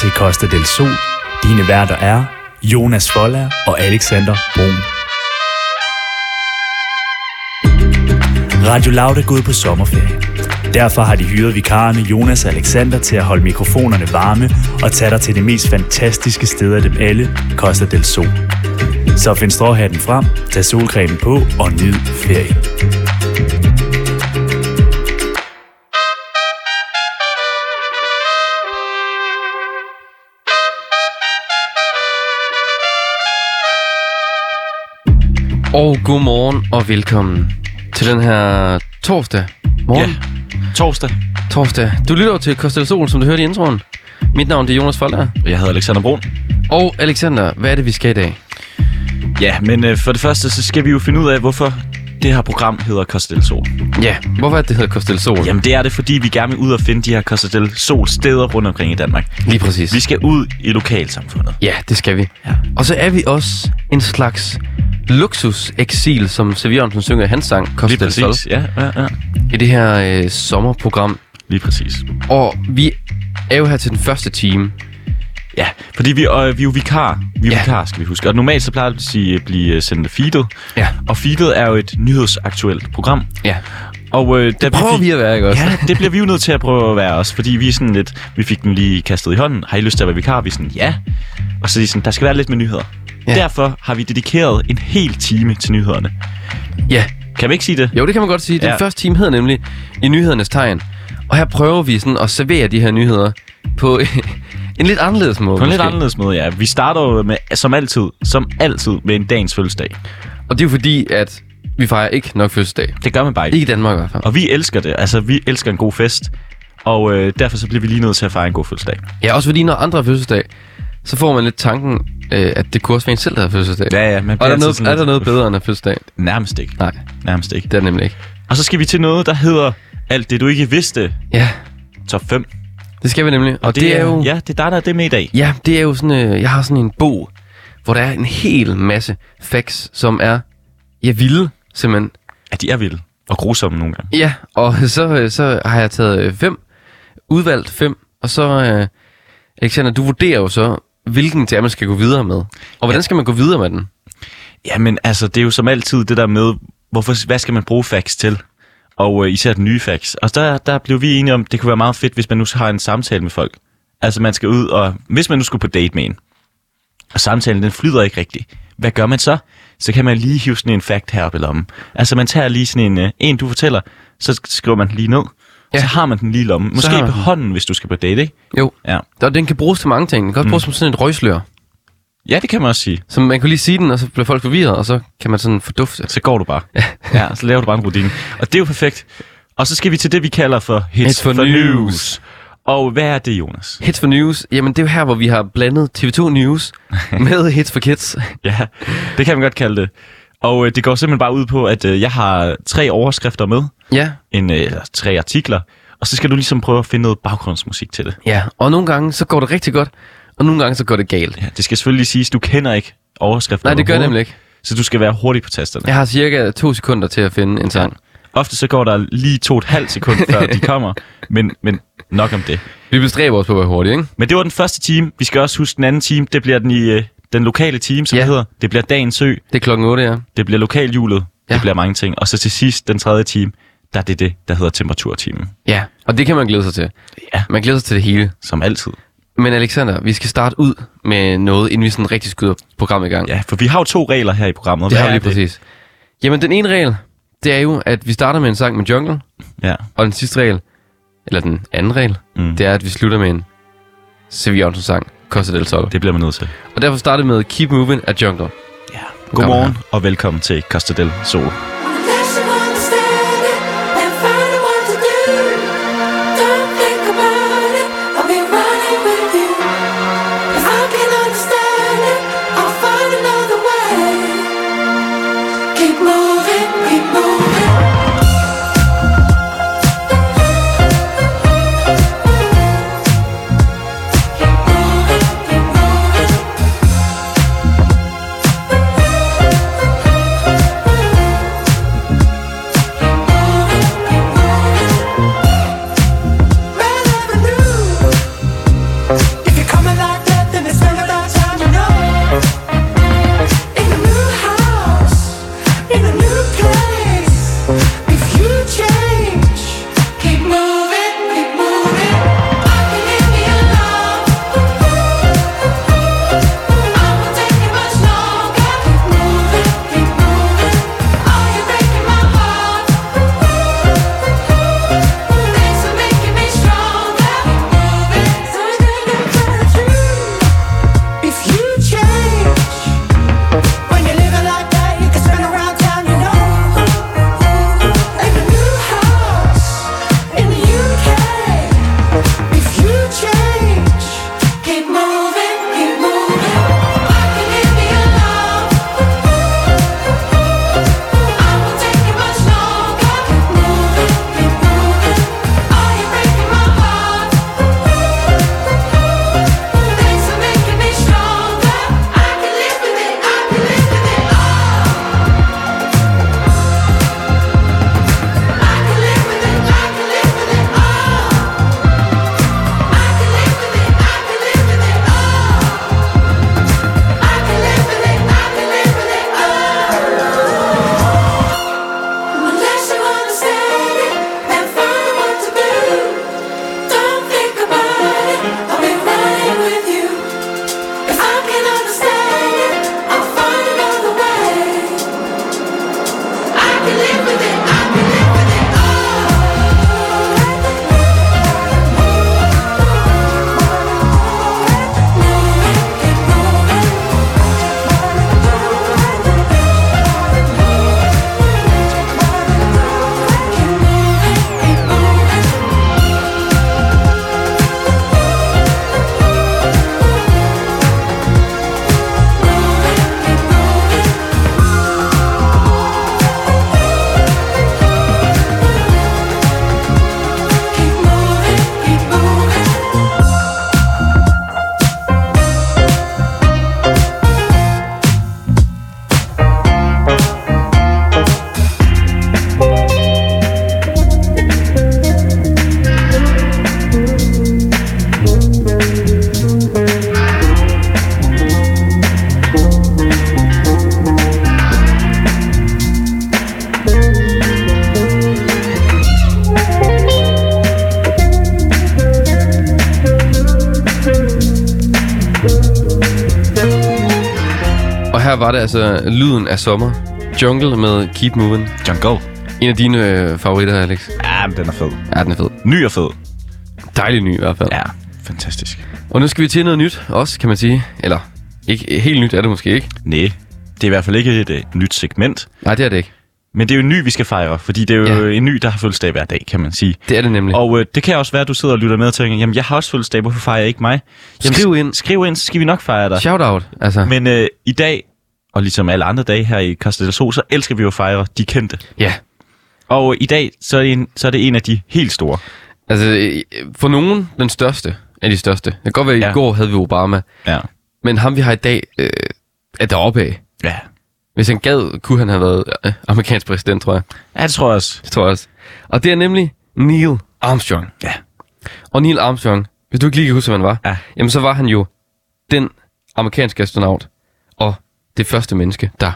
til Costa del Sol. Dine værter er Jonas Folla og Alexander Brun. Radio Loud er gået på sommerferie. Derfor har de hyret vikarerne Jonas og Alexander til at holde mikrofonerne varme og tage dig til det mest fantastiske sted af dem alle, Costa del Sol. Så find stråhatten frem, tag solcremen på og nyd ferien. Og godmorgen og velkommen til den her torsdag morgen. Ja. Torsdag. Torsdag. Du lytter jo til Costa del Sol, som du hørte i introen. Mit navn det er Jonas Folder. Og Jeg hedder Alexander Brun. Og Alexander, hvad er det, vi skal i dag? Ja, men øh, for det første, så skal vi jo finde ud af, hvorfor det her program hedder Costa del Sol. Ja, hvorfor er det, det hedder Costa del Sol? Jamen det er det, fordi vi gerne vil ud og finde de her Costa del Sol steder rundt omkring i Danmark. Lige præcis. Vi skal ud i lokalsamfundet. Ja, det skal vi. Ja. Og så er vi også en slags luksuseksil, som Seviansen synger i hans sang, Costa del Sol, Ja, ja, ja. i det her øh, sommerprogram. Lige præcis. Og vi er jo her til den første time. Ja, fordi vi, øh, vi er jo vikar. Vi er Ja. ja. vikar, skal vi huske. Og normalt så plejer det at sige, blive øh, sendt feedet. Ja. Og feedet er jo et nyhedsaktuelt program. Ja. Og øh, der Prøver vi at være, ikke også? Ja, det bliver vi jo nødt til at prøve at være også, fordi vi er sådan lidt, vi fik den lige kastet i hånden. Har I lyst til at være vikar? Vi er sådan, ja. Og så er de sådan, der skal være lidt med nyheder. Ja. Ja. Derfor har vi dedikeret en hel time til nyhederne. ja. Kan vi ikke sige det? Jo, det kan man godt sige. Den ja. Ja. første time hedder nemlig I nyhedernes tegn. Og her prøver vi sådan at servere de her nyheder på en lidt anderledes måde. På en lidt måske. anderledes måde, ja. Vi starter jo med, som altid, som altid med en dagens fødselsdag. Og det er jo fordi, at vi fejrer ikke nok fødselsdag. Det gør man bare ikke. Ikke i Danmark i hvert fald. Og vi elsker det. Altså, vi elsker en god fest. Og øh, derfor så bliver vi lige nødt til at fejre en god fødselsdag. Ja, også fordi når andre har fødselsdag, så får man lidt tanken, øh, at det kunne også være en selv, der har fødselsdag. Ja, ja. Man Og er der, altid noget, sådan er lidt- der noget bedre end at have fødselsdag? Nærmest ikke. Nej, Nærmest ikke. det er det nemlig ikke. Og så skal vi til noget, der hedder alt det, du ikke vidste. Ja, Top 5. det skal vi nemlig. Og, og det, det er jo... Ja, det er dig, der er det med i dag. Ja, det er jo sådan, øh, jeg har sådan en bog, hvor der er en hel masse facts, som er, jeg ville simpelthen. Ja, de er vilde. Og grusomme nogle gange. Ja, og så, øh, så har jeg taget øh, fem, udvalgt fem, og så, øh, Alexander, du vurderer jo så, hvilken det er, man skal gå videre med. Og hvordan skal man gå videre med den? Jamen, altså, det er jo som altid det der med, hvorfor, hvad skal man bruge fax til? Og øh, især den nye fax. Og der, der blev vi enige om, det kunne være meget fedt, hvis man nu har en samtale med folk. Altså, man skal ud og... Hvis man nu skulle på date med en, og samtalen den flyder ikke rigtigt, hvad gør man så? Så kan man lige hive sådan en fact her op i lommen. Altså, man tager lige sådan en, øh, en du fortæller, så sk- skriver man den lige ned. Ja. Ja. Så har man den lige i lommen. har Måske man på den. hånden, hvis du skal på date, ikke? Jo, Mm. Ja. og den kan bruges til mange ting. Den kan også bruges som sådan et røgslør. ja, det kan man også sige. Så man kan lige sige den, og så bliver folk forvirret, og så kan man sådan fordufte. Så går du bare. ja, så laver du bare en rutine. Og det er jo perfekt. Og så skal vi til det, vi kalder for Hits, Hits for for, for News. news. Og hvad er det, Jonas? Hits for News, jamen det er jo her, hvor vi har blandet TV2 News med Hits for Kids. Ja, det kan man godt kalde det. Og øh, det går simpelthen bare ud på, at øh, jeg har tre overskrifter med, Ja, en, øh, eller tre artikler, og så skal du ligesom prøve at finde noget baggrundsmusik til det. ja. Og nogle gange, så går det rigtig godt, og nogle gange, så går det galt. Ja, det skal selvfølgelig lige siges, du kender ikke overskrifter. Nej, det gør jeg overhovedet, nemlig ikke. Så du skal være hurtig på tasterne. Ja. Jeg har cirka to sekunder til at finde en sang. Ofte så går der lige to og et halvt sekund, før de kommer, men, men nok om det. Vi bestræber os på at være hurtige, ikke? Men det var den første time. Vi skal også huske den anden time. Det bliver den i øh, den lokale time, som Ja. ja. det hedder. Det bliver dagens ø. Det er klokken 8, ja. Det bliver lokalhjulet. Ja. Ja. Det bliver mange ting. Og så til sidst, den tredje time, der er det det, der hedder temperaturtimen. Ja, og det kan man glæde sig til. Ja. Man glæder sig til det hele. Som altid. Men Alexander, vi skal starte ud med noget, inden vi sådan rigtig skyder programmet i gang. Ja, for vi har jo to regler her i programmet. det Hvad har vi er lige præcis. Jamen, den ene regel, det er jo, at vi starter med en sang med Jungle, Ja. og den sidste regel, eller den anden regel, Mm. det er, at vi slutter med en Sevi Jørgensen sang, Costa del Sol. Det bliver man nødt til. Og derfor starter vi med Keep Moving af Jungle. Ja. Kom Godmorgen og velkommen til Costa del Sol. Unless you understand it and find out what to do, don't think about it. I'll be running with you. If I can understand it, I'll find another way. Keep moving, keep moving. Keep moving, keep moving. Oh. Oh. var det altså lyden af sommer. Jungle med Keep Moving. Jungle. En af dine øh, favoritter, Alex. Ja, men den er fed. Ja, den er fed. Ny og fed. Dejlig ny i hvert fald. Ja, fantastisk. Og nu skal vi til noget nyt også, kan man sige. Eller, ikke helt nyt er det måske ikke. Nej, det er i hvert fald ikke et, et nyt segment. Nej, det er det ikke. Men det er jo en ny, vi skal fejre, fordi det er jo Ja. en ny, der har fødselsdag hver dag, kan man sige. Det er det nemlig. Og øh, det kan også være, at du sidder og lytter med og tænker, jamen jeg har også fødselsdag, hvorfor fejrer jeg ikke mig? Jamen, Skriv s- ind. Skriv ind, så skal vi nok fejre dig. Shout out, altså. Men, Men øh, i dag, og ligesom alle andre dage her i Costa del Sol, så elsker vi jo at fejre de kendte. ja, Og øh, i dag, så er, det en, så er det en af de helt store. altså øh, for nogen den største af de største. Det kan godt være, at i Ja. går havde vi Obama, Ja. men ham vi har i dag øh, er deroppe af. Ja, Hvis han gad, kunne han have været øh, amerikansk præsident, tror jeg. ja det tror jeg også. Det tror jeg også. Og det er nemlig Neil Armstrong. Ja. Og Neil Armstrong, hvis du ikke lige kan huske, hvem han var, Ja. jamen så var han jo den amerikanske astronaut og det første menneske, der,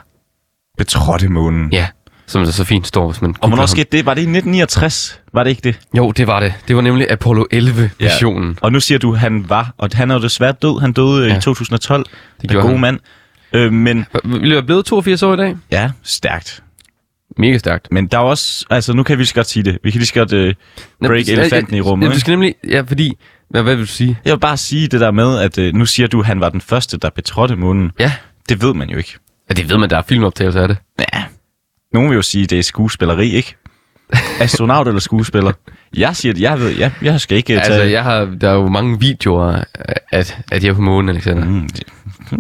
Betrådte månen. Ja. ja, som der så fint står, hvis man Og googler hvornår ham. skete det? Var det i 1969? Var det ikke det? Jo, det var det. Det var nemlig Apollo 11-missionen. Ja. Og nu siger du, at han var, og han er jo desværre død. Han døde ja. Ja. i 2012. Det gjorde gode han. mand. Øh, men Ville jeg være blevet 82 år i dag? ja, stærkt. Mega stærkt. Men der er også, altså nu kan vi lige så godt sige det. Vi kan lige så godt øh, break Jamen, elefanten ja, i ja, rummet. Ja, du ikke? skal nemlig... Ja, fordi... Hvad, hvad vil du sige? Jeg vil bare sige det der med, at øh, nu siger du, at han var den første, der betrådte månen. Ja. Det ved man jo ikke. ja det ved man, der er filmoptagelser af det. Ja. Nogen vil jo sige, at det er skuespilleri, ikke? Astronaut eller skuespiller? Jeg siger det, jeg ved, jeg, jeg skal ikke øh, tage... Altså, jeg har, der er jo mange videoer, at, at jeg er på månen, Alexander. Mm,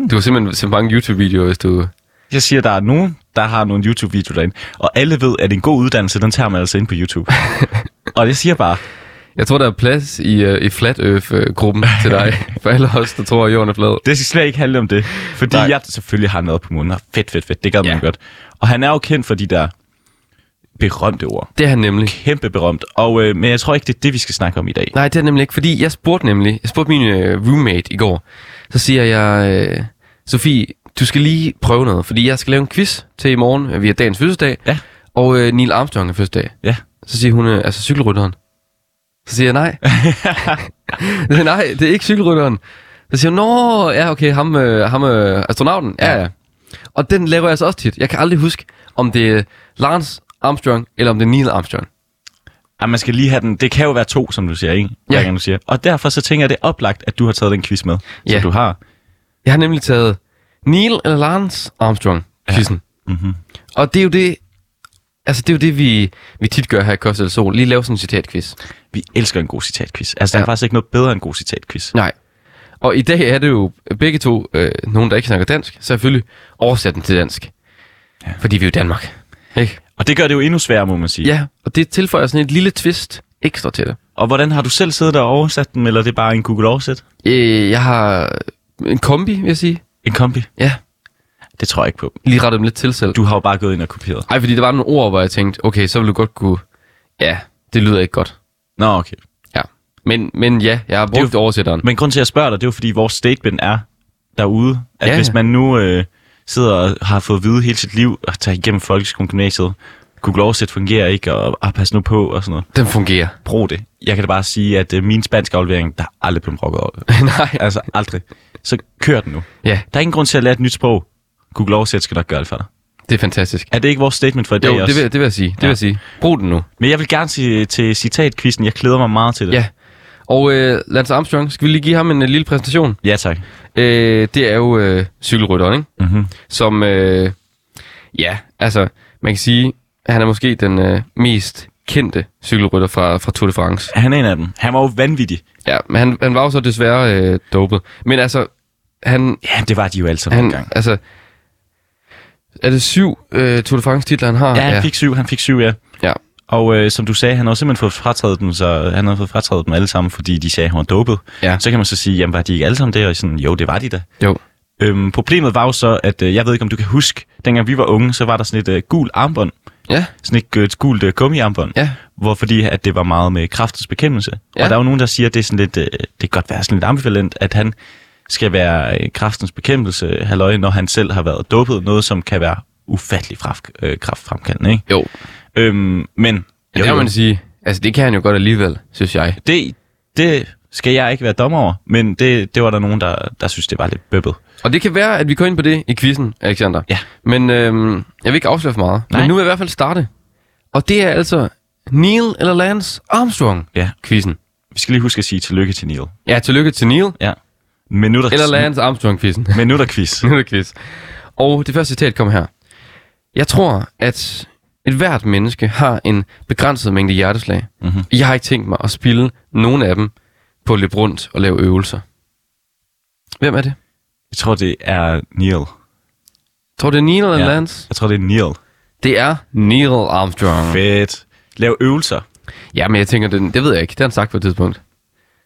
Du har simpelthen set mange YouTube-videoer, hvis du... jeg siger, at der er nogen, der har nogle YouTube-videoer derinde. Og alle ved, at en god uddannelse, den tager man altså ind på YouTube. og det siger bare, Jeg tror, der er plads i, uh, i Flat Earth-gruppen til dig. For alle os, der tror, at jorden er flad. det skal slet ikke handle om det. Fordi Nej. Nej. jeg selvfølgelig har noget på munden. og Fedt, fedt, fedt. Det gad man Ja. godt. Og han er jo kendt for de der berømte ord. Det er han nemlig. kæmpe berømt. Og, øh, men jeg tror ikke, det er det, vi skal snakke om i dag. Nej, det er nemlig ikke, fordi jeg spurgte nemlig, jeg spurgte min øh, roommate i går, så siger jeg, øh, Sofie, du skal lige prøve noget, fordi jeg skal lave en quiz til i morgen, øh, vi har dagens fødselsdag, Ja. og øh, Neil Armstrong er fødselsdag. Ja. Så siger hun, øh, altså cykelrytteren. Så siger jeg, nej. Jeg siger, nej, det er ikke cykelrytteren. Så siger hun, nå, ja okay, ham, øh, ham øh, astronauten, ja ja. Og den laver jeg så også tit. Jeg kan aldrig huske, om det er Lance Armstrong, eller om det er Neil Armstrong. Ej, man skal lige have den. Det kan jo være to, som du siger, ikke? Hver Ja. gang, du siger. Og derfor så tænker jeg, det er oplagt, at du har taget den quiz med, som Ja. du har. Jeg har nemlig taget Neil eller Lance Armstrong quizzen. Ja. Mm-hmm. Og det er jo det, altså det er jo det, vi, vi tit gør her i Costa del Sol. Lige lave sådan en citatquiz. Vi elsker en god citatquiz. Altså, der Ja. er faktisk ikke noget bedre end en god citatquiz. Nej. Og i dag er det jo begge to, øh, nogen der ikke snakker dansk, så selvfølgelig oversat den til dansk. Ja. Fordi vi er jo Danmark. Ikke? Og det gør det jo endnu sværere, må man sige. Ja, og det tilføjer sådan et lille twist ekstra til det. Og hvordan har du selv siddet der og oversat den, eller er det bare en Google Oversæt? Øh, jeg har en kombi, vil jeg sige. En kombi? Ja, Det tror jeg ikke på. lige rettet dem lidt til selv. Du har jo bare gået ind og kopieret. Ej, fordi der var nogle ord, hvor jeg tænkte, okay, så ville du godt kunne... Ja, det lyder ikke godt. Nå, okay. Ja. Men, men ja, jeg har er jo- brugt jo... oversætteren. Men grunden til, at jeg spørger dig, det er jo, fordi vores statement er derude, Ja, at ja, ja. hvis man nu øh, sidder og har fået at vide hele sit liv, og tager igennem folkeskolen gymnasiet, Google Oversæt fungerer ikke, og, og pas nu på, og sådan noget. Den fungerer. Brug det. Jeg kan da bare sige, at øh, min spanske aflevering, der er aldrig blevet rokket over. Nej. altså, aldrig. Så kør den nu. Ja, Der er ingen grund til at lære et nyt sprog. Google Oversæt skal nok gøre det for dig. det er fantastisk. Er det ikke vores statement for i dag Jo, det også? vil, det vil jeg sige. Det vil Ja. jeg sige. Brug den nu. Men jeg vil gerne sige til citatkvisten, jeg glæder mig meget til det. Ja. Og øh, Lance Armstrong, skal vi lige give ham en øh, lille præsentation? Ja, tak. Øh, det er jo øh, cykelrytteren, ikke? Mm-hmm. Som, øh, ja, altså, man kan sige, at han er måske den øh, mest kendte cykelrytter fra, fra Tour de France. Han er en af dem. Han var jo vanvittig. Ja, men han, han var jo så desværre øh, dopet. Men altså, han, Ja, det var de jo altså han, nogle gange. altså, er det syv øh, Tour de France titler, han har? Ja, han fik syv, han fik syv, ja. ja. Og øh, som du sagde, han har jo simpelthen fået frataget dem, så øh, han har fået frataget dem alle sammen, fordi de sagde, at han var dopet. Ja. Så kan man så sige, jamen var de ikke alle sammen det? Og sådan, jo, det var de da. Jo. Øhm, problemet var jo så, at øh, jeg ved ikke, om du kan huske, dengang vi var unge, så var der sådan et øh, gul armbånd, Ja, sådan et, øh, et gult øh, gummiarmbånd, Ja. hvor fordi at det var meget med kraftens bekæmpelse. Ja. Og der er jo nogen, der siger, at det, er sådan lidt, øh, det kan godt være sådan lidt ambivalent, at han skal være øh, kraftens bekæmpelse, halløj, når han selv har været dopet, noget som kan være ufattelig fraf- øh, kraftfremkaldende, ikke? jo. Øhm, men... Jo, det kan man sige. Altså, det kan han jo godt alligevel, synes jeg. det, det skal jeg ikke være dommer over. Men det, det var der nogen, der, der synes, det var lidt bøbbet. Og det kan være, at vi går ind på det i quizzen, Alexander. Ja. Men øhm, jeg vil ikke afsløre for meget. Nej. Men nu vil jeg i hvert fald starte. Og det er altså Neil eller Lance Armstrong Ja. quizzen. Vi skal lige huske at sige tillykke til Neil. Ja, tillykke til Neil Ja. Minutter, eller Lance Armstrong quizzen. Minutterquiz. Nu er det quiz. Og det første citat kommer her. Jeg tror, at et hvert menneske har en begrænset mængde hjerteslag. Mm-hmm. Jeg har ikke tænkt mig at spille nogen af dem på at løbe rundt og lave øvelser. Hvem er det? Jeg tror, det er Neil. Tror du, det er Neil eller Ja. ja. Lance? Jeg tror, det er Neil. Det er Neil Armstrong. Fedt. Lav øvelser. Ja, men jeg tænker, det, det ved jeg ikke. Det har han sagt på et tidspunkt.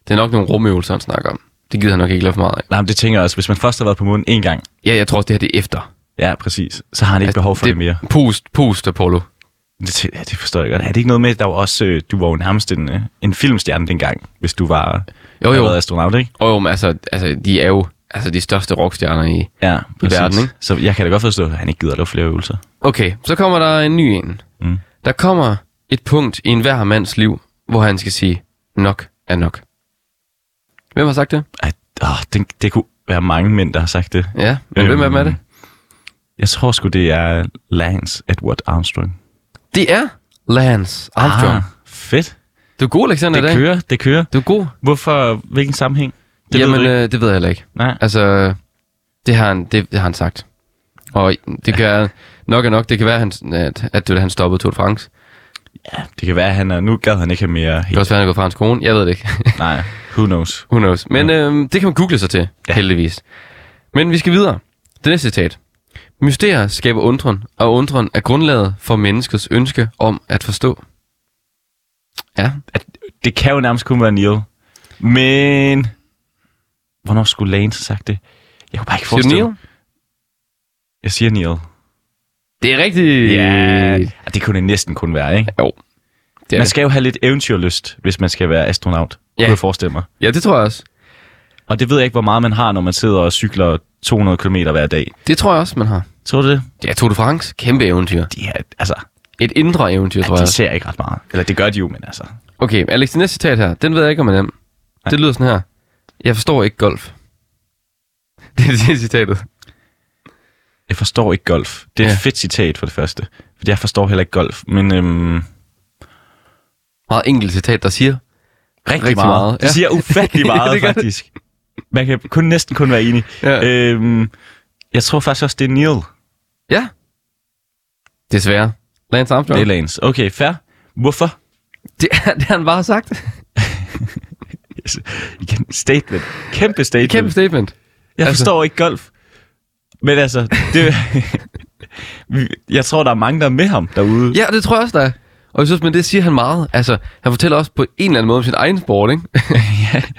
Det er nok nogle rumøvelser, han snakker om. Det gider han nok ikke lave for meget af. Nej, men det tænker jeg også. Hvis man først har været på munden en gang, Ja, jeg tror også, det her det er efter. ja, præcis, så har han ikke behov for det, mere. Pust, pust, Apollo. Det, tæ- ja, det forstår jeg godt. Er det ikke noget med, at der var også, øh, du var jo nærmest en, øh, en filmstjerne dengang, hvis du var Jo, havde jo. været astronaut, ikke? Og jo, men altså, altså, de er jo altså, de største rockstjerner i, Ja, præcis. verden, ikke? Så jeg kan da godt forstå, at han ikke gider at lave flere øvelser. Okay, så kommer der en ny en. Mm. Der kommer et punkt i enhver mands liv, hvor han skal sige, nok er nok. Hvem har sagt det? Ej, åh, det, det kunne være mange mænd, der har sagt det. Ja, men øhm. hvem af dem er det? Jeg tror sgu, det er Lance Edward Armstrong. Det er Lance Armstrong. Ah. fedt. Du er god, Alexander, i Det dag. kører, det kører. Du er god. Hvorfor? Hvilken sammenhæng? Det Det Jamen, ved du ikke. øh, det ved jeg heller ikke. Nej. Altså, det har han, det, det har han sagt. Og det kan nok er nok, det kan være, han, at, at det var, han stoppede Tour de France. Det kan være, at han er, nu gad han ikke have mere Det kan helt. også være, han er gået fra hans kone. Jeg ved det ikke. Nej, who knows. Who knows? Men ja. øhm, det kan man google sig til, ja. heldigvis. Men vi skal videre. Det næste citat. Mysterier skaber undren, og undren er grundlaget for menneskets ønske om at forstå. Ja, At, det kan jo nærmest kun være Neil. Men... Hvornår skulle Lance have sagt det? Jeg kunne bare ikke siger du forestille Neil? mig. Jeg siger Neil. Det er rigtigt! Og det kunne det næsten kun være, ikke? Jo. Det er Man det. skal jo have lidt eventyrlyst, hvis man skal være astronaut. Ja. Ja. Kunne jeg forestille mig. Ja, det tror jeg også. Og det ved jeg ikke, hvor meget man har, når man sidder og cykler 200 km hver dag. Det tror jeg også, man har. Tror du det? Det er Tour de France. Kæmpe eventyr. De, er, altså, Et indre eventyr, tror jeg. de ser ikke ret meget. Eller det gør de jo, men altså. Okay, Alex, det næste citat her, den ved jeg ikke, om man er nem. Det lyder sådan her. Jeg forstår ikke golf. Det er det er citatet. Jeg forstår ikke golf. Det er ja. Ja. et fedt citat for det første. Fordi jeg forstår heller ikke golf. Men øhm, rigtig, Meget enkelt citat, der siger, Rigtig meget, Det ja. siger ufattelig Ja, meget, det ja, gør det. faktisk. Man kan kun, næsten kun være enig. Ja. Øhm, jeg tror faktisk også, det er Neil. Ja. Desværre. Lance Armstrong. Det er Lance. Okay, fair. Hvorfor? det, er- det har han bare sagt. Yes. Igen, Statement. Kæmpe statement. Kæmpe statement. Jeg Altså- altså. forstår ikke golf. Men altså, det, Vi- jeg tror, der er mange, der er med ham derude. Ja, det tror jeg også, der er. Og jeg synes, men det siger han meget. Altså, han fortæller også på en eller anden måde om sin egen sport, ikke?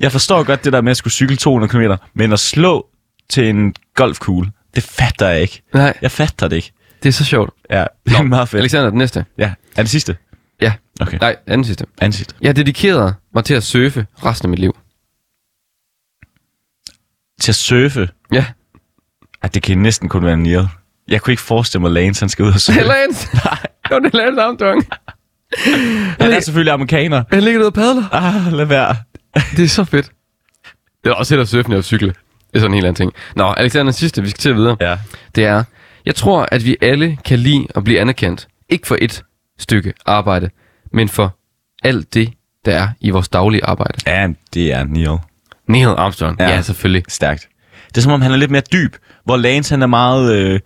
Jeg forstår godt det der med at skulle cykle 200 km, men at slå til en golfkugle, det fatter jeg ikke. Nej, Jeg fatter det ikke. det er så sjovt. Ja, det er meget fedt. Alexander, den næste. Ja, er det sidste? Ja. Okay, Nej, anden sidste. anden sidste. Jeg dedikerede mig til at surfe resten af mit liv. Til at surfe. Ja. Ej, det kan næsten kun være Neil. Jeg kunne ikke forestille mig, at Lance han skal ud og Det surfe. er Lance. Nej. Jo, det er Lance Armstrong. Han er selvfølgelig amerikaner. Han ligger derude og padler. Ah, lad være. Det er så fedt. Det er også fedt at surfe, når jeg cykle. Det er sådan en helt anden ting. Nå, Alexander, den sidste, vi skal til at videre. Ja. det er, jeg tror, at vi alle kan lide at blive anerkendt. Ikke for et stykke arbejde, men for alt det, der er i vores daglige arbejde. Ja, det er Neil. Neil Armstrong. Ja, Ja. ja selvfølgelig. Stærkt. Det er som om, han er lidt mere dyb, hvor Lance han er meget... Øh,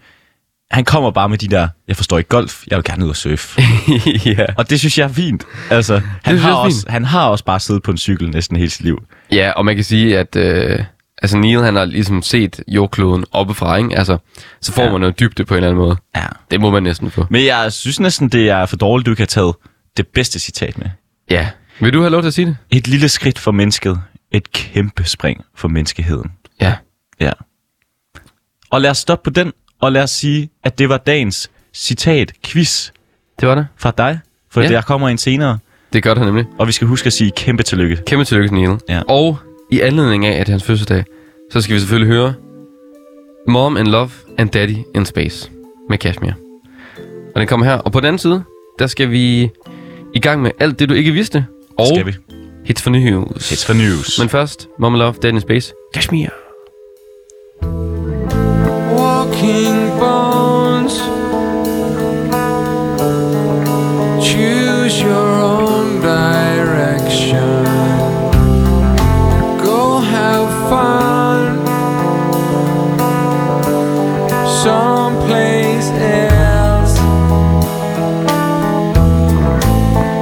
han kommer bare med de der, jeg forstår ikke golf, jeg vil gerne ud og surfe. ja. Og det synes jeg er fint. Altså, han, synes jeg har er fint. også, han har også bare siddet på en cykel næsten hele sit liv. ja, og man kan sige, at øh, altså Neil han har ligesom set jordkloden oppefra, ikke? Altså, så får ja. Ja. man noget dybde på en eller anden måde. Ja. Det må man næsten få. Men jeg synes næsten, det er for dårligt, du ikke har taget det bedste citat med. Ja. Vil du have lov til at sige det? Et lille skridt for mennesket. Et kæmpe spring for menneskeheden. Ja. Ja. Og lad os stoppe på den, og lad os sige, at det var dagens citat quiz Det var det. fra dig. For Ja. ja. der kommer en senere, Det gør det nemlig. og vi skal huske at sige kæmpe tillykke. Kæmpe tillykke til Neil. Ja. Og i anledning af, at det er hans fødselsdag, så skal vi selvfølgelig høre Mom in Love and Daddy in Space med Kashmir. Og den kommer her. Og på den anden side, der skal vi i gang med alt det, du ikke vidste. Og Skal vi? Hits for News. It's for news. Men først, Mom Love, Dead in Space. Kashmir. walking bones. Choose your own direction. Go have fun someplace else.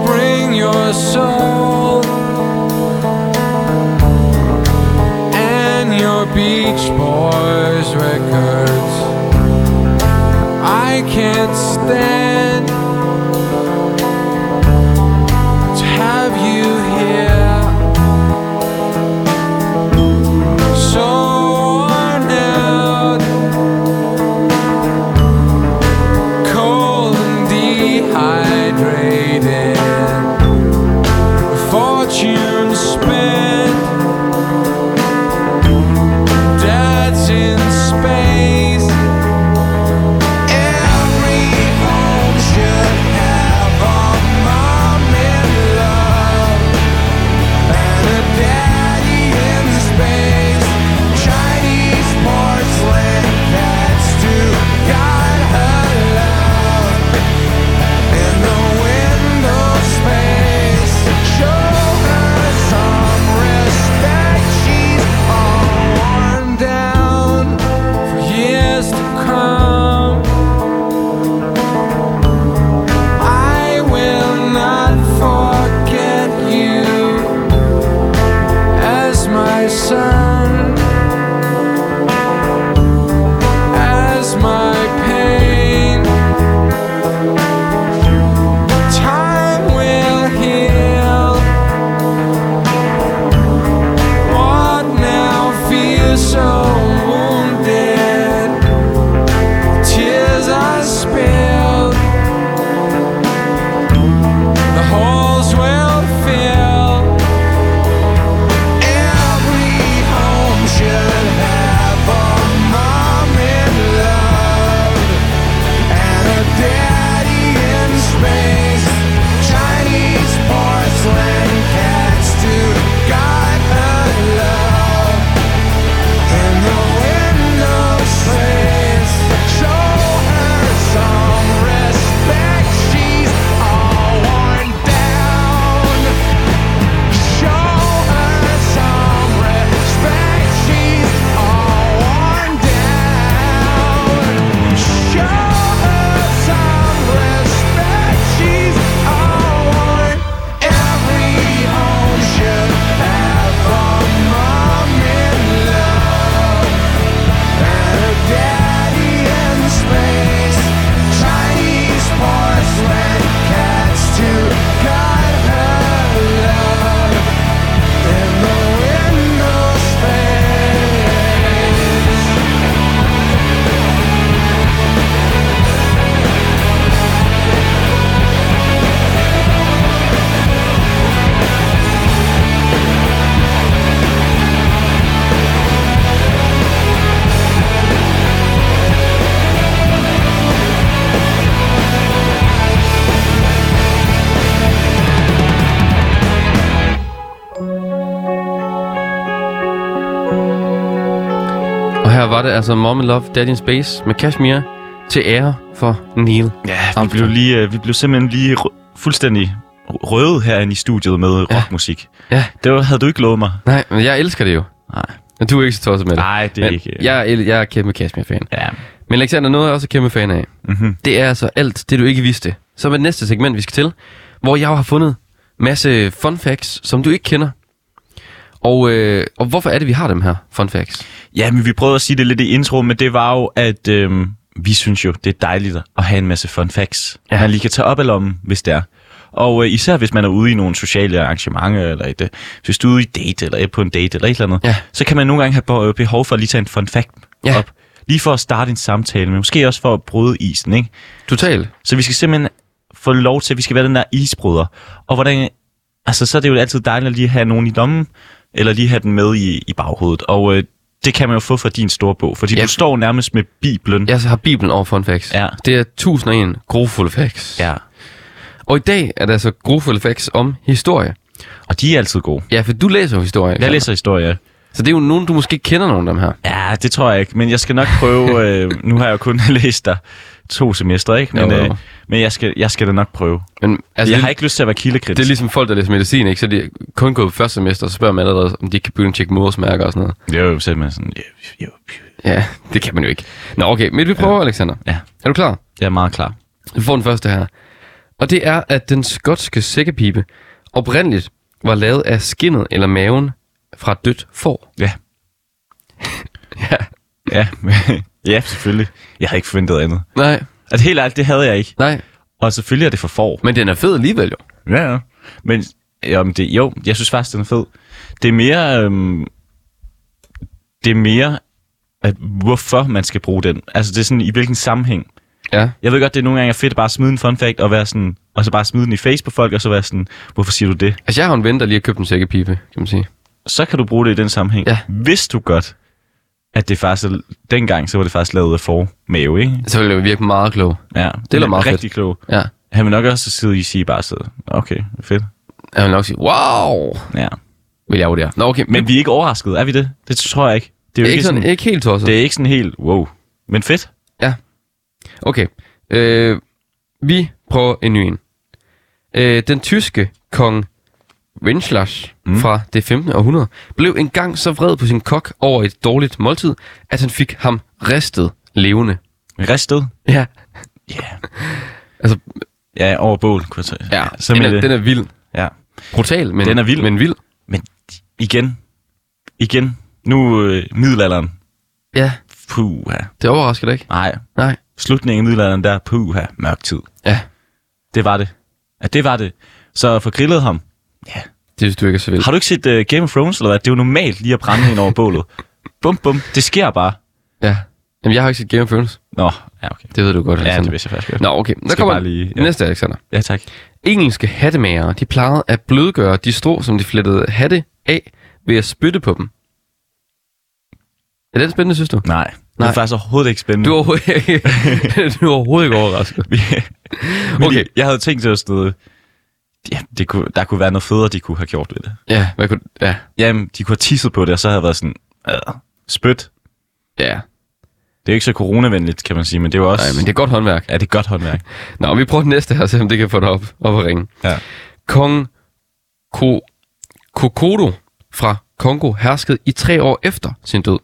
Bring your soul and your Beach Boys records. I can't stand to have you here. So worn out, cold and dehydrated. A Fortune spent. Dad's in space. Every home should have a mom in love and a daddy in space. Chinese porcelain cats do God alone in the window space. Show her some respect. She's all worn down for years to come. I will not forget you as my son. As my pain, Time will heal. What now feels so wounded? Tears I spilled. The holes will fill. Every home should have a mom in love and a daddy in space. Chinese porcelain cats do God love in the window space. Show her some respect. She's all worn down. Show her some respect. She's all worn down. Show her some respect. She's all worn. Every home should have a mom in love and a daddy in space. Chinese porcelain cats to guide her love in the window space. Og her var det altså Mom Love, Dead in Space med Kashmir til ære for Neil. Ja, vi Armstrong. blev, lige, øh, vi blev simpelthen lige rø- fuldstændig røde herinde i studiet med rockmusik. Ja. Det var, havde du ikke lovet mig. Nej, men jeg elsker det jo. Nej. Men du er ikke så tosset med det. Nej, det er men ikke... øh. Jeg, er- jeg er kæmpe Kashmir-fan. Ja. Men Alexander, noget jeg også er kæmpe fan af, Mm-hmm. det er altså alt det, du ikke vidste. Som er det næste segment, vi skal til, hvor jeg jo har fundet masse fun facts, som du ikke kender. Og, øh, og hvorfor er det, vi har dem her, fun facts? ja, men vi prøvede at sige det lidt i intro, men det var jo, at øhm, vi synes jo, det er dejligt at have en masse fun facts, Ja. ja. man lige kan tage op af lommen, hvis det er. Og øh, især hvis man er ude i nogle sociale arrangementer, eller et, øh, hvis du er ude i date, eller er på en date, eller et eller andet, Ja. så kan man nogle gange have be- øh, behov for at lige tage en fun fact Ja. op. Lige for at starte en samtale, men måske også for at bryde isen, ikke? Totalt. Så vi skal simpelthen få lov til, at vi skal være den der isbryder. Og hvordan, altså, så er det jo altid dejligt at lige have nogen i lommen, eller lige have den med i, i baghovedet. Og øh, det kan man jo få fra din store bog, fordi Ja. du står nærmest med Bibelen. Jeg har Bibelen over fun facts. Ja. Det er 1001 grofulde facts. ja. Og i dag er der altså grofulde facts om historie. Og de er altid gode. Ja, for du læser jo historie. ikke Jeg sant? læser historie. Så det er jo nogen, du måske kender nogen af dem her. Ja, det tror jeg ikke, men jeg skal nok prøve. øh, nu har jeg jo kun læst der to semester, ikke? Men, Jo, jo. øh, men jeg, skal, jeg skal da nok prøve. Men Altså, altså, jeg det, har ikke lyst til at være kildekritisk. det er ligesom folk, der læser medicin, ikke? Så de er kun gået på første semester, og så spørger man allerede, om de ikke kan begynde at tjekke modersmærker og sådan noget. Jo, jo, så er man sådan, jo, jo, jo. Ja, det kan man jo ikke. Nå, okay. Men vi prøver, ja. Alexander. Ja. Er du klar? Jeg er meget klar. Vi får den første her. Og det er, at den skotske sækkepipe oprindeligt var lavet af skinnet eller maven fra et dødt får. Ja. Ja. Ja, ja selvfølgelig. Jeg havde ikke forventet andet. Nej, Altså helt ærligt, det havde jeg ikke. nej. Og selvfølgelig er det for for. Men den er fed alligevel jo. Ja, ja. Men jo, men det, jo, jeg synes faktisk, den er fed. Det er mere... Øhm, det er mere, at hvorfor man skal bruge den. Altså det er sådan, i hvilken sammenhæng. Ja. Jeg ved godt, det er nogle gange er fedt at bare smide en fun fact, og, være sådan, og så bare smide den i face på folk, og så være sådan, hvorfor siger du det? Altså, jeg har en ven, der lige har købt en sækkepipe, kan man sige. Så kan du bruge det i den sammenhæng. Ja. Hvis du godt, at det faktisk er, dengang, så var det faktisk lavet af for mave, ikke? Så ville det jo virke meget klog. Ja, lyder meget fedt. rigtig klog. Ja. Han vil nok også sidde i sige bare sidde. Okay, fedt. Jeg vil nok sige, wow, Ja. vil jeg jo der. Nå, okay. Men vi er ikke overrasket, er vi det? Det tror jeg ikke. Det er jo ikke, sådan, ikke helt tosset. det er ikke sådan helt, wow. Men fedt. Okay. Øh, vi prøver en ny en. Øh, den tyske kong Wenceslas mm. fra det 15. århundrede blev engang så vred på sin kok over et dårligt måltid, at han fik ham ristet levende. Ristet. Ja. Yeah. Altså, Ja, over bål, kunne jeg sige. ja, så den, med er, det. den er vild. Ja. Brutal, men Den er vild. Men vild. Men igen. Igen. Nu øh, middelalderen. Ja, Puha. det overrasker dig ikke. Nej. Nej. Slutningen af middelalderen der, puha. Mørk tid. Ja, Det var det. Ja, det var det. Så for grillet ham. Ja. det synes du ikke er så vildt. Har du ikke set uh, Game of Thrones, eller hvad? Det er jo normalt lige at brænde hende over bålet. Bum, bum. Det sker bare. Ja. Jamen, jeg har ikke set Game of Thrones. Nå, ja, okay. Det ved du godt, Ja, det Alexander. vidste jeg faktisk godt. Nå, okay. Der Skal kommer bare lige, lige- ja. ja. næste, Alexander. Ja, tak. Engelske hattemager, de plejede at blødgøre de strå, som de flettede hatte af, ved at spytte på dem. Er den spændende, synes du? Nej, det Nej. er faktisk overhovedet ikke spændende. Du er overhovedet ikke, du er overhovedet ikke overrasket. Okay. okay. Jeg havde tænkt til sådan noget, ja, det kunne, der kunne være noget federe, de kunne have gjort ved det. Ja, hvad kunne, ja, Jamen, de kunne have tisset på det, og så havde jeg været sådan, øh, spyt. ja. Det er jo ikke så coronavenligt, kan man sige, men det er jo også, Nej, men det det... er godt håndværk. er det godt håndværk. Nå, vi prøver den næste her, så om det kan få dig op, op at ringe. Ja. Kong Ko Kokodo fra Kongo herskede i tre år efter sin død.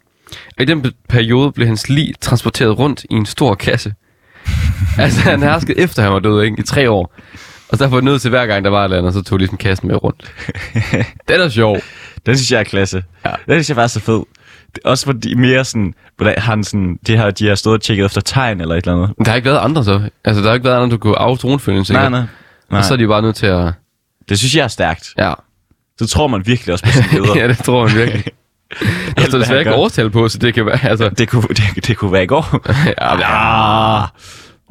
Og i den be- periode blev hans lig transporteret rundt i en stor kasse. altså, han herskede efter han var død, ikke? I tre år. Og så var det nødt til hver gang, der var et eller andet, så tog ligesom kassen med rundt. Den er sjov. Den synes jeg er klasse. Ja. Den synes jeg faktisk er fed. Det er også fordi mere sådan, hvordan han sådan, de har, de har stået og tjekket efter tegn eller et eller andet. Men Der har ikke været andre så. Altså, der har ikke været andre, du kunne arve tronfølgen, Nej, nej. Nej. Og så er de jo bare nødt til at... Det synes jeg er stærkt. Ja, Så tror man virkelig også på sine ledere. ja det tror jeg virkelig. Altså, Der står hvad desværre han ikke gør. årstal på, så det kan være... Altså, det, kunne, det, det kunne være i går. ja, ja. Ah,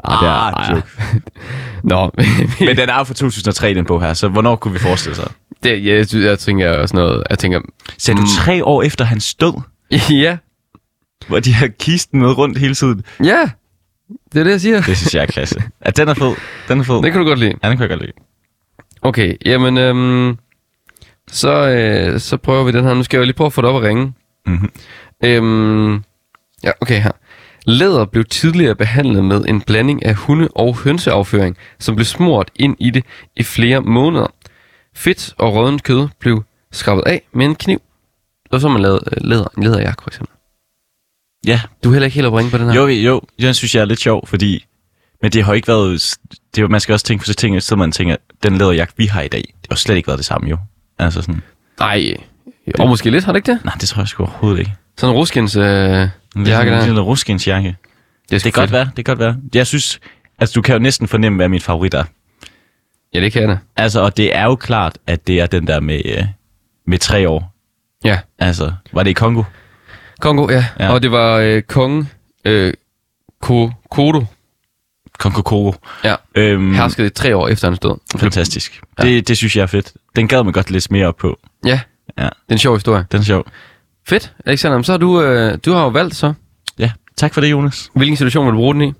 ah, det er ah, en joke. Nå, Men den er jo fra 2003, den bog her, så hvornår kunne vi forestille sig? Det, ja, jeg, synes, jeg tænker også noget, jeg tænker, Sagde Hmm. du tre år efter hans død, ja, hvor de har kisten med rundt hele tiden? ja, det er det, jeg siger. Det synes jeg er klasse. Ja, den er fed. Den er fed. Det kan du godt lide. Ja, den kan jeg godt lide. Okay, jamen, øhm, så, øh, så prøver vi den her. Nu skal jeg jo lige prøve at få det op at ringe. Mhm. Øhm, ja, okay her. Læder blev tidligere behandlet med en blanding af hunde- og hønseafføring, som blev smurt ind i det i flere måneder. Fedt og rådent kød blev skrabet af med en kniv. Og så har man lavet øh, læder, en læderjakke, for eksempel. Ja, Du er heller ikke helt op at ringe på den her. jo, jo. Den synes jeg er lidt sjov, fordi... Men det har jo ikke været... Det er, jo- man skal også tænke på så ting, så man tænker, den læderjagt, vi har i dag, det har jo slet ikke været det samme, jo. Altså sådan... Nej. Og måske lidt, har det ikke det? Nej, det tror jeg sgu overhovedet ikke. Sådan en ruskins øh, jakke Det er sådan en der. lille ruskinsjakke. Det Det er, sgu kan godt fedt. være, det kan godt være. Jeg synes... Altså, du kan jo næsten fornemme, hvad min favorit er. Ja, det kan jeg da. Altså, og det er jo klart, at det er den der med, øh, med tre år. Ja. Altså, var det i Kongo? Kongo, ja. ja. Ja. Og det var øh, kongen øh, Ko Kodo, Kongo Kongo. ja, Øhm, herskede i tre år efter hans død. fantastisk. Ja. Det, det synes jeg er fedt. Den gad man godt læse mere op på. Ja, Ja. det er en sjov historie. Den er sjov. Fedt, Alexander. men Så har du, øh, du har jo valgt så. Ja, tak for det, Jonas. Hvilken situation vil du bruge den i?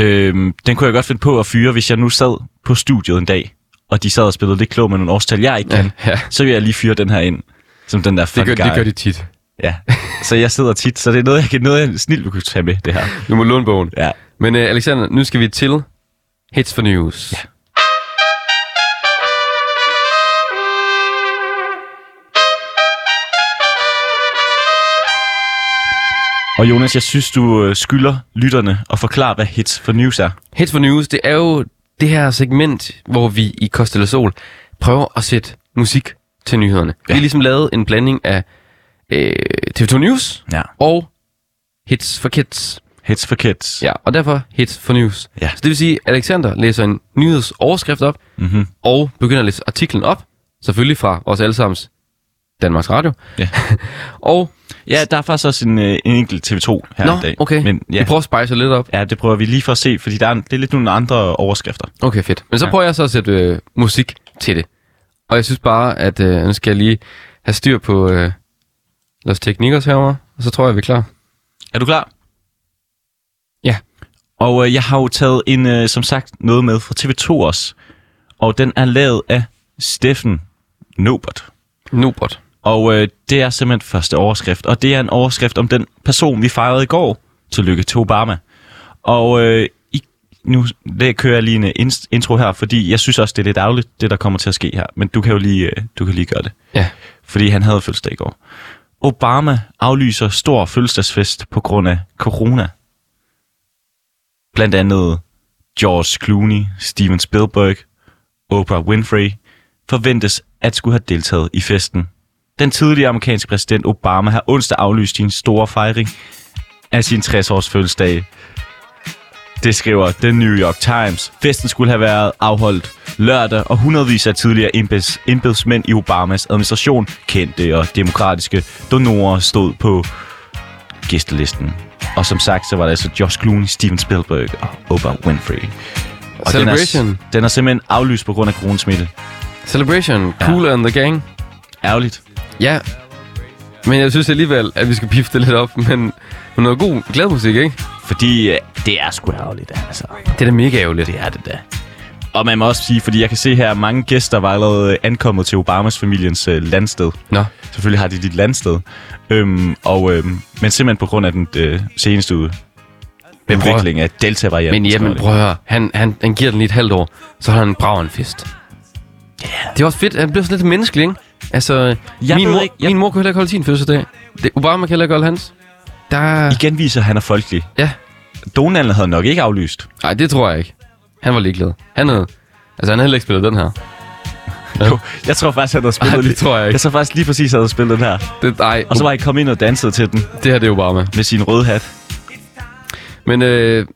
Øhm, den kunne jeg godt finde på at fyre, hvis jeg nu sad på studiet en dag, og de sad og spillede lidt klog med nogle årstal, jeg ikke kan, Ja, ja. så vil jeg lige fyre den her ind, som den der fun Det gør, guy. det gør de tit. Ja, så jeg sidder tit, så det er noget, jeg kan noget, jeg snilt vil kunne tage med, det her. Du må låne bogen. Ja. Men uh, Alexander, nu skal vi til Hits for News. Ja. Og Jonas, jeg synes, du øh, skylder lytterne at forklare, hvad Hits for News er. Hits for News, det er jo det her segment, hvor vi i Costa del Sol prøver at sætte musik til nyhederne. Ja. Vi har ligesom lavet en blanding af øh, TV2 News Ja. og Hits for Kids. Hits for Kids. Ja, og derfor Hits for News. Ja. Så det vil sige, at Alexander læser en nyhedsoverskrift op, Mm-hmm. og begynder at læse artiklen op, selvfølgelig fra vores allesammens Danmarks Radio. Ja. og, ja, der er faktisk også en, øh, en enkelt TV2 her nå, i dag. okay, Men, vi ja, prøver at spice lidt op. ja, det prøver vi lige for at se, fordi der er, en- det er lidt nogle andre overskrifter. Okay, fedt. Men så Ja. prøver jeg så at sætte øh, musik til det. Og jeg synes bare, at øh, nu skal jeg lige have styr på øh, Los Teknikers herovre, og så tror jeg, vi er klar. Er du klar? Ja. Og øh, jeg har jo taget en, øh, som sagt, noget med fra TV2 også. Og den er lavet af Steffen Nobert. Nobert. Og øh, det er simpelthen første overskrift. Og det er en overskrift om den person, vi fejrede i går. Tillykke til Obama. Og øh, i, nu det kører jeg lige en øh, inst- intro her, fordi jeg synes også, det er lidt ærgerligt, det der kommer til at ske her. Men du kan jo lige, øh, du kan lige gøre det. Ja. Fordi han havde fødselsdag i går. Obama aflyser stor fødselsdagsfest på grund af corona. Blandt andet George Clooney, Steven Spielberg, Oprah Winfrey forventes at skulle have deltaget i festen. Den tidligere amerikanske præsident Obama har onsdag aflyst sin store fejring af sin 60-års fødselsdag. Det skriver The New York Times. Festen skulle have været afholdt lørdag, og hundredvis af tidligere embeds, embedsmænd i Obamas administration, kendte og demokratiske donorer, stod på gæstelisten. Og som sagt, så var det altså Josh Clooney, Steven Spielberg og Oprah Winfrey. Og Den Celebration. er, den er simpelthen aflyst på grund af coronasmitte. Celebration, Cooler and the Gang. Ærgerligt. Ja, men jeg synes alligevel, at vi skal pifte lidt op, men men noget god glad musik, ikke? Fordi øh, det er sgu ærgerligt, altså. Det er da mega ærgerligt. Det er det da. Og man må også sige, fordi jeg kan se her, at mange gæster var allerede øh, ankommet til Obamas familiens øh, landsted. Nå, Selvfølgelig har de dit landsted. Øhm, og, øhm, men simpelthen på grund af den øh, seneste ud- Men prøv- udvikling af Delta-varianten. men skriver jamen, de. prøv at høre. Han, han, han giver den lige et halvt år, så har han en brager en fest. Yeah. Det er også fedt. Han bliver sådan lidt menneskelig, ikke? Altså, jeg min, ved mor, ikke, ikke, jeg- min mor kunne heller ikke holde sin fødselsdag. Det, Obama kan heller ikke holde hans. Der... Igen viser, at han er folkelig. Ja. Donald havde nok ikke aflyst. Nej, det tror jeg ikke. Han var ligeglad. Han havde... Altså, han havde heller ikke spillet den her. Jo, jeg tror faktisk, han havde spillet Ej, det lige- tror jeg ikke. Jeg tror faktisk lige præcis, han havde spillet den her. Det, ej, Og så var jeg kommet ind og danset til den det her det er Obama. med sin røde hat. Men øh,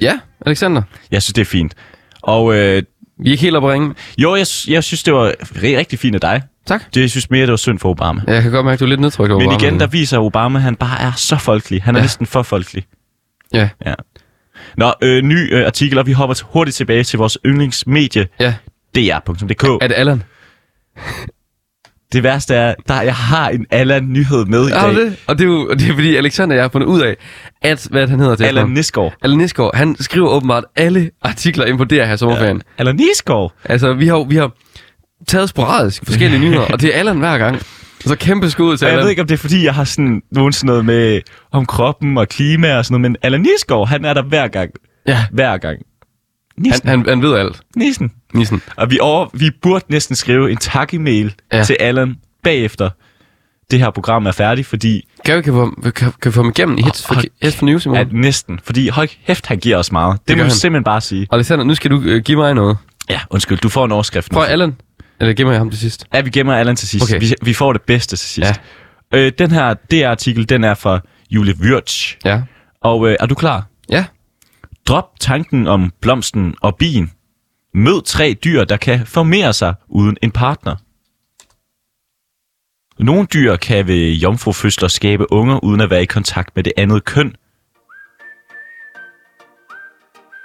ja, Alexander. Jeg synes, det er fint. Og øh, Vi er ikke helt oppe at ringe. jo, jeg, sy- jeg synes, det var ri- rigtig fint af dig. Tak. Det, jeg synes mere, det var synd for Obama. Jeg kan godt mærke, at du er lidt nedtrykt over Men Obama. igen, der viser Obama, at han bare er så folkelig. Han er ja. Ja. næsten for folkelig. Ja, Ja. Nå, øh, ny øh, artikel, og vi hopper hurtigt tilbage til vores yndlingsmedie, ja. dr.dk. Er det Allan? Det værste er, der jeg har en Allan-nyhed med i Er dag. det? Og det er jo det er, fordi, Alexander og jeg har fundet ud af, at hvad er det, han hedder til Allan efternavn? Nisgaard. Allan Nisgaard, han skriver åbenbart alle artikler ind på DR her i sommerferien. Ja. Allan Nisgaard? Altså, vi har, jo- vi har taget sporadisk forskellige nyheder, og det er Allan hver gang. Så kæmpe skud til Og jeg Allan. ved ikke, om det er, fordi jeg har sådan, nogen sådan noget med om kroppen og klima og sådan noget, men Allan Nisgaard, han er der hver gang. Ja. Hver gang. Han, Nissen. Han, han, han ved alt, Nissen. Nissen. Og vi, over, vi burde næsten skrive en tak-e-mail ja. Ja. til Allan bagefter det her program er færdigt, fordi Kan vi kan få, ham- kan, kan vi få ham igennem i Hits for, Åh, hold hits for News i at morgen? næsten, fordi høj hæft, han giver os meget. Det, det gør må vi han. simpelthen bare sige. Alexander, nu skal du øh, give mig noget. Ja, undskyld, du får en overskrift nu. Prøv Allan. Eller giv mig ham til sidst. Ja, vi gemmer Allan til sidst. Okay. Okay. Vi, vi får det bedste til sidst. Ja. Øh, den her DR-artikel, den er fra Julie Wirtz. Ja. Og øh, er du klar? Ja. Drop tanken om blomsten og bien. Mød tre dyr, der kan formere sig uden en partner. Nogle dyr kan ved jomfrufødsler skabe unger uden at være i kontakt med det andet køn.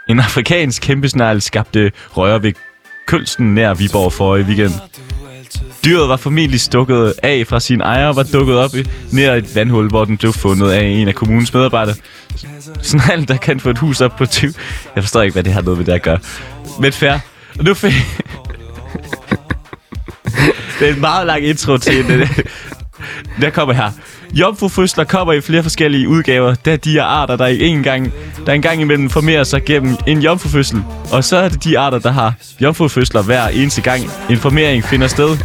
En afrikansk kæmpesnegl skabte røre ved kølsten nær Viborg for i weekend. Dyret var formentlig stukket af fra sin ejer og var dukket op i- nær et vandhul, hvor den blev fundet af en af kommunens medarbejdere. Sneglen, der kan få et hus op på 20... Jeg forstår ikke, hvad det har noget med det at gøre. Men fair. Og nu fik... Det er en meget lang intro til den. Der kommer her. Jomfrufødsler kommer i flere forskellige udgaver, da de er arter, der ikke engang, der engang imellem formerer sig gennem en jomfrufødsel. Og så er det de arter, der har jomfrufødsler hver eneste gang en formering finder sted.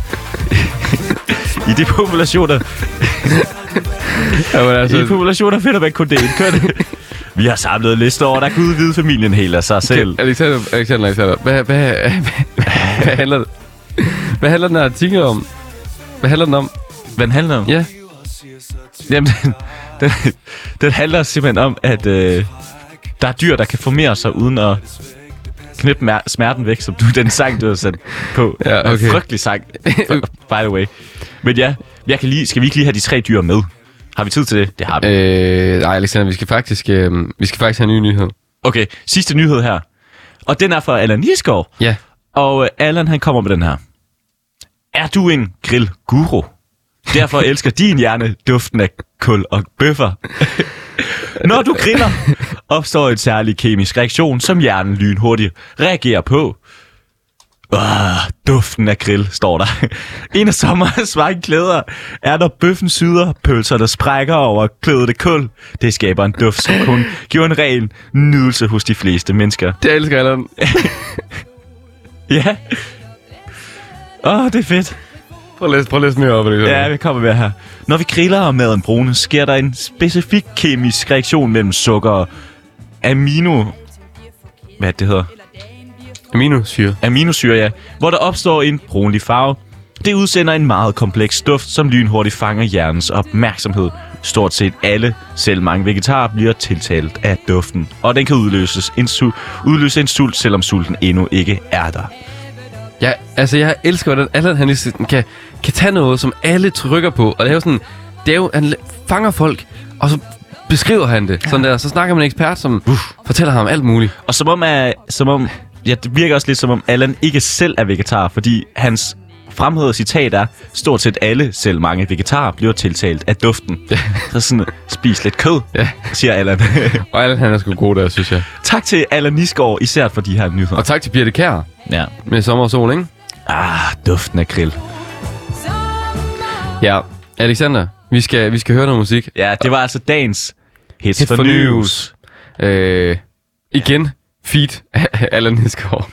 I de populationer, Jamen, altså, i de populationer finder man kun det ene køn. Vi har samlet en liste over, der kan udvide familien helt af sig selv. Alexander, Alexander, Alexander, hvad, hvad, hvad, hvad handler det? Hvad handler den her artikel om? Hvad handler den om? Hvad den handler om? Ja, Jamen, den, den, den handler simpelthen om, at øh, der er dyr, der kan formere sig uden at knippe mer- smerten væk, som du den sang, du har sat på. Ja, En okay. Frygtelig sang, by the way. Men ja, jeg kan lige, skal vi ikke lige have de tre dyr med? Har vi tid til det? Det har vi. øh, nej Alexander, vi skal faktisk, øh, vi skal faktisk have en ny nyhed. Okay, sidste nyhed her. Og den er fra Allan Isgaard. Ja. Og øh, Allan, han kommer med den her. Er du en grillguru? Derfor elsker din hjerne duften af kul og bøffer. Når du griller, opstår en særlig kemisk reaktion, som hjernen lynhurtigt reagerer på. Åh, duften af grill, står der. En af sommerens mange klæder er, når bøffen syder, pølserne sprækker over klødet kul. Det skaber en duft, som kun giver en ren nydelse hos de fleste mennesker. Det elsker Allan. Ja. Åh, oh, det er fedt. Prøv at læse, prøv at læse mere op, Alexander. Ja, vi kommer med her. Når vi griller og maden brune, sker der en specifik kemisk reaktion mellem sukker og amino... Hvad er det, det hedder? Aminosyre. Aminosyre, ja. Hvor der opstår en brunlig farve. Det udsender en meget kompleks duft, som lynhurtigt fanger hjernens opmærksomhed. Stort set alle, selv mange vegetarer, bliver tiltalt af duften. Og den kan udløses en su- udløse en sult, selvom sulten endnu ikke er der. Ja, altså jeg elsker, hvordan Allan han ligesom kan, kan tage noget, som alle trykker på, og det er jo sådan, det er jo, han la- fanger folk, og så beskriver han det. Sådan der, så snakker man en ekspert, som Uff. fortæller ham alt muligt. Og som om, er, som om ja, det virker også lidt som om Allan ikke selv er vegetar, fordi hans fremhævede citat er, stort set alle, selv mange vegetarer, bliver tiltalt af duften. Så sådan, spis lidt kød, Ja. siger Allan. Og Allan han er sgu god der, synes jeg. tak til Allan Nisgaard, især for de her nyheder. Og tak til Birte Kær Ja. med sommer og sol, ikke? Ah, duften af grill. Ja. Alexander, vi skal, vi skal høre noget musik. Ja, det var altså dagens Hits, Hit for, for news. news. Øh, igen, feed Allan Nisgaard.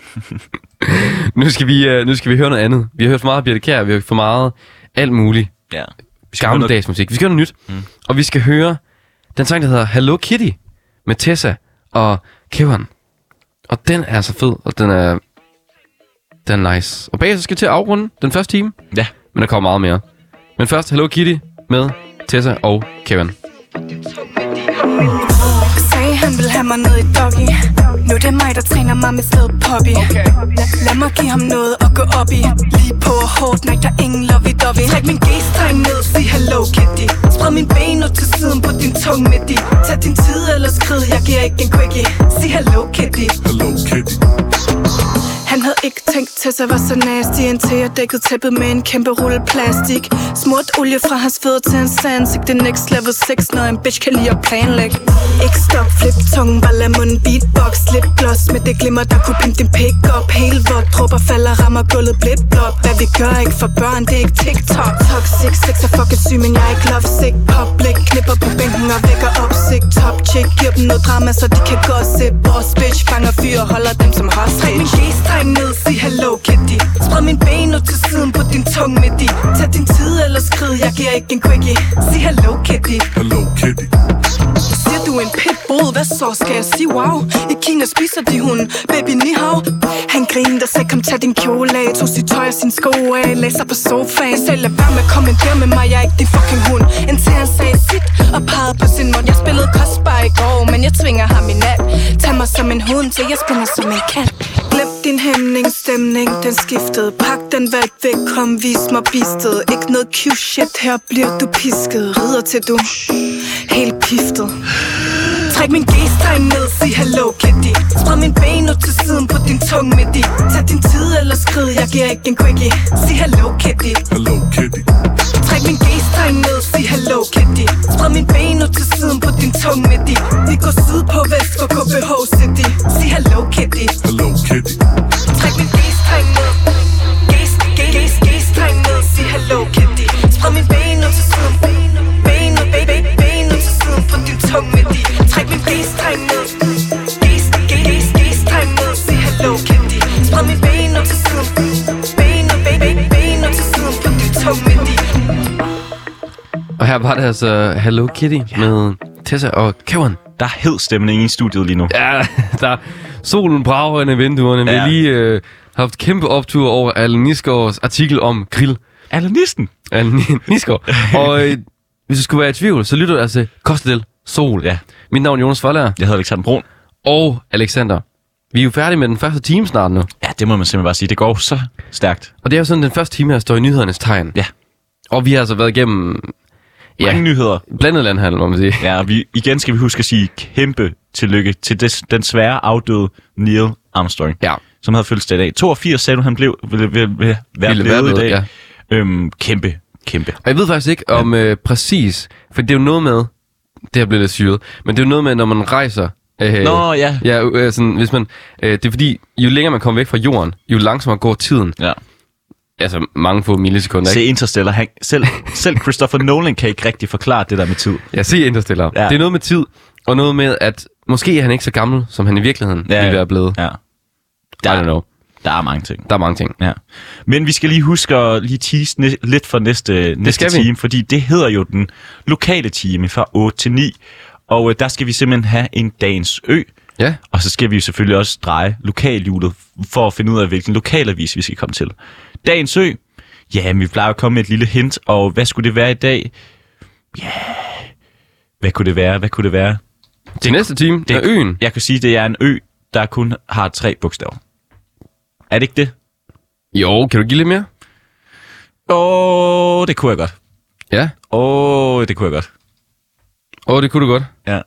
nu, skal vi, øh, nu skal vi høre noget andet. Vi har hørt for meget Birte Kær, vi har hørt for meget alt muligt. Ja. Vi skal høre gammeldags musik. Vi skal høre noget nyt. Mm. Og vi skal høre den sang, der hedder Hello Kitty med Tessa og Kevin. Og den er så fed, og den er, den er nice. Og bagefter skal vi til at afrunde den første time, noget- Ja. men der kommer meget mere. Men først Hello Kitty med Tessa og Kevin. Sagde han vil have mig ned i doggy Nu er det mig, der træner mig med fed poppy lad, lad mig give ham noget at gå op i Lige på og hårdt, nej, der er ingen lovey-dovey Træk min g-streng ned, sig hello kitty Spred min ben ud til siden på din tung midt i Tag din tid eller skrid, jeg giver ikke en quickie Sig hello kitty han havde ikke tænkt til sig var så nasty Indtil jeg dækkede tæppet med en kæmpe rulle plastik Smurt olie fra hans fødder til hans ansigt Det er next level 6, når en bitch kan lide at planlægge Ikke stop, flip tungen, bare lad munden beatbox Lidt gloss med det glimmer, der kunne pimpe din pik op Hele vort dropper falder, rammer gulvet blip blop Hvad vi gør ikke for børn, det er ikke TikTok Toxic, sex er fucking syg, men jeg er ikke love sick Public, knipper på bænken og vækker opsigt Top chick, giver dem noget drama, så de kan gossip Vores bitch fanger fyre, holder dem som hostage min g-streng ned, sig hello kitty Spred min ben ud til siden på din tung midt i Tag din tid eller skrid, jeg giver ikke en quickie Sig hello kitty Siger du en pitbull, hvad så skal jeg sige wow I Kina spiser de hun, baby ni hao Han grinede og sagde, kom tag din kjole af Tog sit tøj og sin sko af, lagde sig på sofaen Selv lad være med at komme ind der med mig, jeg er ikke din fucking hund Indtil han sagde sit og pegede på sin mund Jeg spillede kostbar i går, men jeg tvinger ham i nat Tag mig som en hund, så jeg spiller som en kat Glem din hæmning, stemning, den skiftede Pak den væk, væk, kom, vis mig bistet Ikke noget cute shit, her bliver du pisket Rider til du, helt piftet Træk min g-streng ned, sig hello kitty Spred min ben ud til siden på din tung midt i Tag din tid eller skrid, jeg giver ikke en quickie Sig hello kitty Hello kitty Træk min g-streng ned, sig hello kitty Spred min ben ud til siden på din tung midt i Vi går syd på vest for KBH City Sig hello kitty Hello kitty Træk min g-streng ned G-streng ned, sig Her var det altså Hello Kitty med Tessa og Kevin. Der er hed stemning i studiet lige nu. Ja, der solen brager ind i vinduerne. Ja. Vi Ja. har lige øh, haft kæmpe optur over Allen Nisgaards artikel om grill. Allan Nissen. Allen Nisgaard. og øh, hvis du skulle være i tvivl, så lytter du altså til Kostedel Sol. Ja. Mit navn er Jonas Forlager Jeg hedder Alexander Brun. og Alexander. Vi er jo færdige med den første time snart nu. Ja, det må man simpelthen bare sige. Det går så stærkt. Og det er jo sådan, den første time her står i nyhedernes tegn. Ja. Og vi har altså været igennem... Ja, Mange nyheder. blandet landhandel, må man sige. Ja, og vi, igen skal vi huske at sige kæmpe tillykke til des, den svære afdøde Neil Armstrong, Ja. som havde fødselsdag i dag. 82 sagde du, han blev, ville, ville, ville være Ville ville være blevet i blevet, dag. ja. Ja. Øhm, kæmpe, kæmpe. Og jeg ved faktisk ikke om øh, præcis, for det er jo noget med, det her bliver lidt syret, men det er jo noget med, når man rejser. Øh, Nå, ja. Ja, øh, sådan, hvis man, øh, det er fordi, jo længere man kommer væk fra jorden, jo langsommere går tiden. Ja. Altså mange få millisekunder, Se ikke? Interstellar. Han, selv, selv Christopher Nolan kan ikke rigtig forklare det der med tid. Ja, se Interstellar. Ja. Ja. Det er noget med tid, og noget med, at måske er han ikke så gammel, som han i virkeligheden ja, ville være blevet. Ja. Ja. I don't know. Der er mange ting. Der er mange ting. Ja. Men vi skal lige huske at lige tease næ- lidt for næste, næste skal vi. time, fordi det hedder jo den lokale time fra 8 til 9. Og øh, der skal vi simpelthen have en dagens ø. Ja. Og så skal vi jo selvfølgelig også dreje lokalhjulet for at finde ud af, hvilken lokalavis vi skal komme til. Dagens ø. Ja, men vi plejer at komme med et lille hint, og hvad skulle det være i dag? Ja, hvad kunne det være? Hvad kunne det være? Til næste time, det er øen. Jeg kan sige, det er en ø, der kun har tre bogstaver. Er det ikke det? Jo, kan du give lidt mere? Åh, oh, det kunne jeg godt. Ja. Åh, oh, det kunne jeg godt. Åh, oh, det kunne du godt. Ja.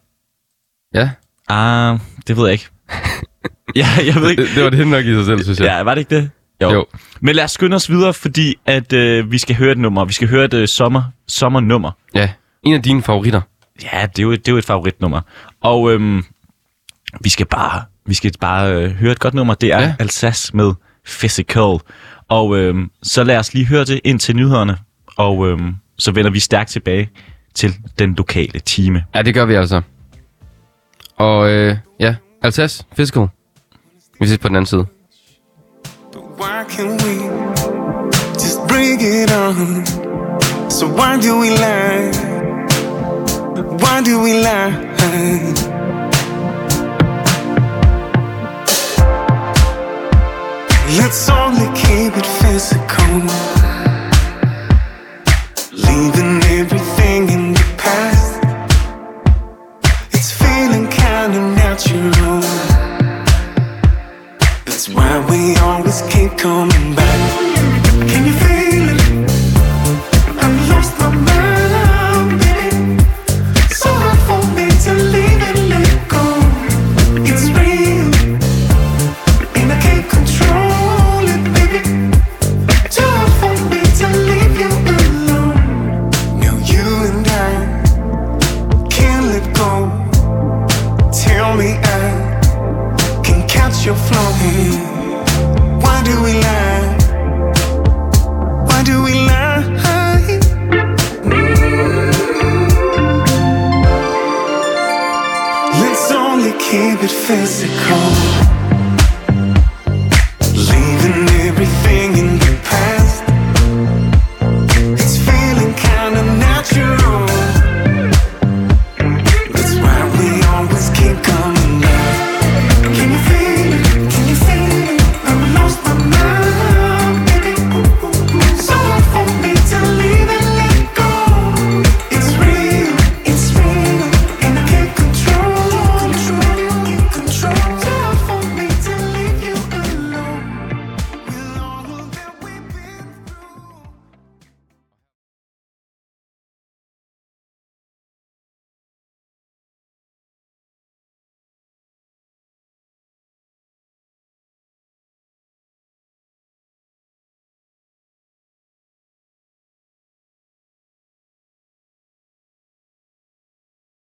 Ja. Ah, det ved jeg ikke. ja, jeg ved ikke. Det, det var det nok i sig selv, synes jeg. Ja, var det ikke det? Jo. Men lad os skynde os videre, fordi at øh, vi skal høre et nummer. Vi skal høre et øh, sommer, sommernummer. ja. En af dine favoritter. Ja, det er jo, det er jo et favoritnummer. Og øhm, vi skal bare, vi skal bare øh, høre et godt nummer. Det er Ja. ja. Alsace med Physical. Og øhm, så lad os lige høre det ind til nyhederne. Og øhm, så vender vi stærkt tilbage til den lokale time. Ja, det gør vi altså. Og øh, ja, Alsace, Fiscal. Vi ses på den anden side. Why can't we just bring it on? So why do we lie? Why do we lie? Let's only keep it physical. Leaving everything in the past. It's feeling kinda natural. That's why we always keep coming back. Can you feel it? I lost my mind, baby. So hard for me to leave and let go. It's real, and I can't control it, baby. Too hard for me to leave you alone. Now you and I can't let go. Tell me I can catch your flow. Why do we lie? Why do we lie? Let's only keep it physical.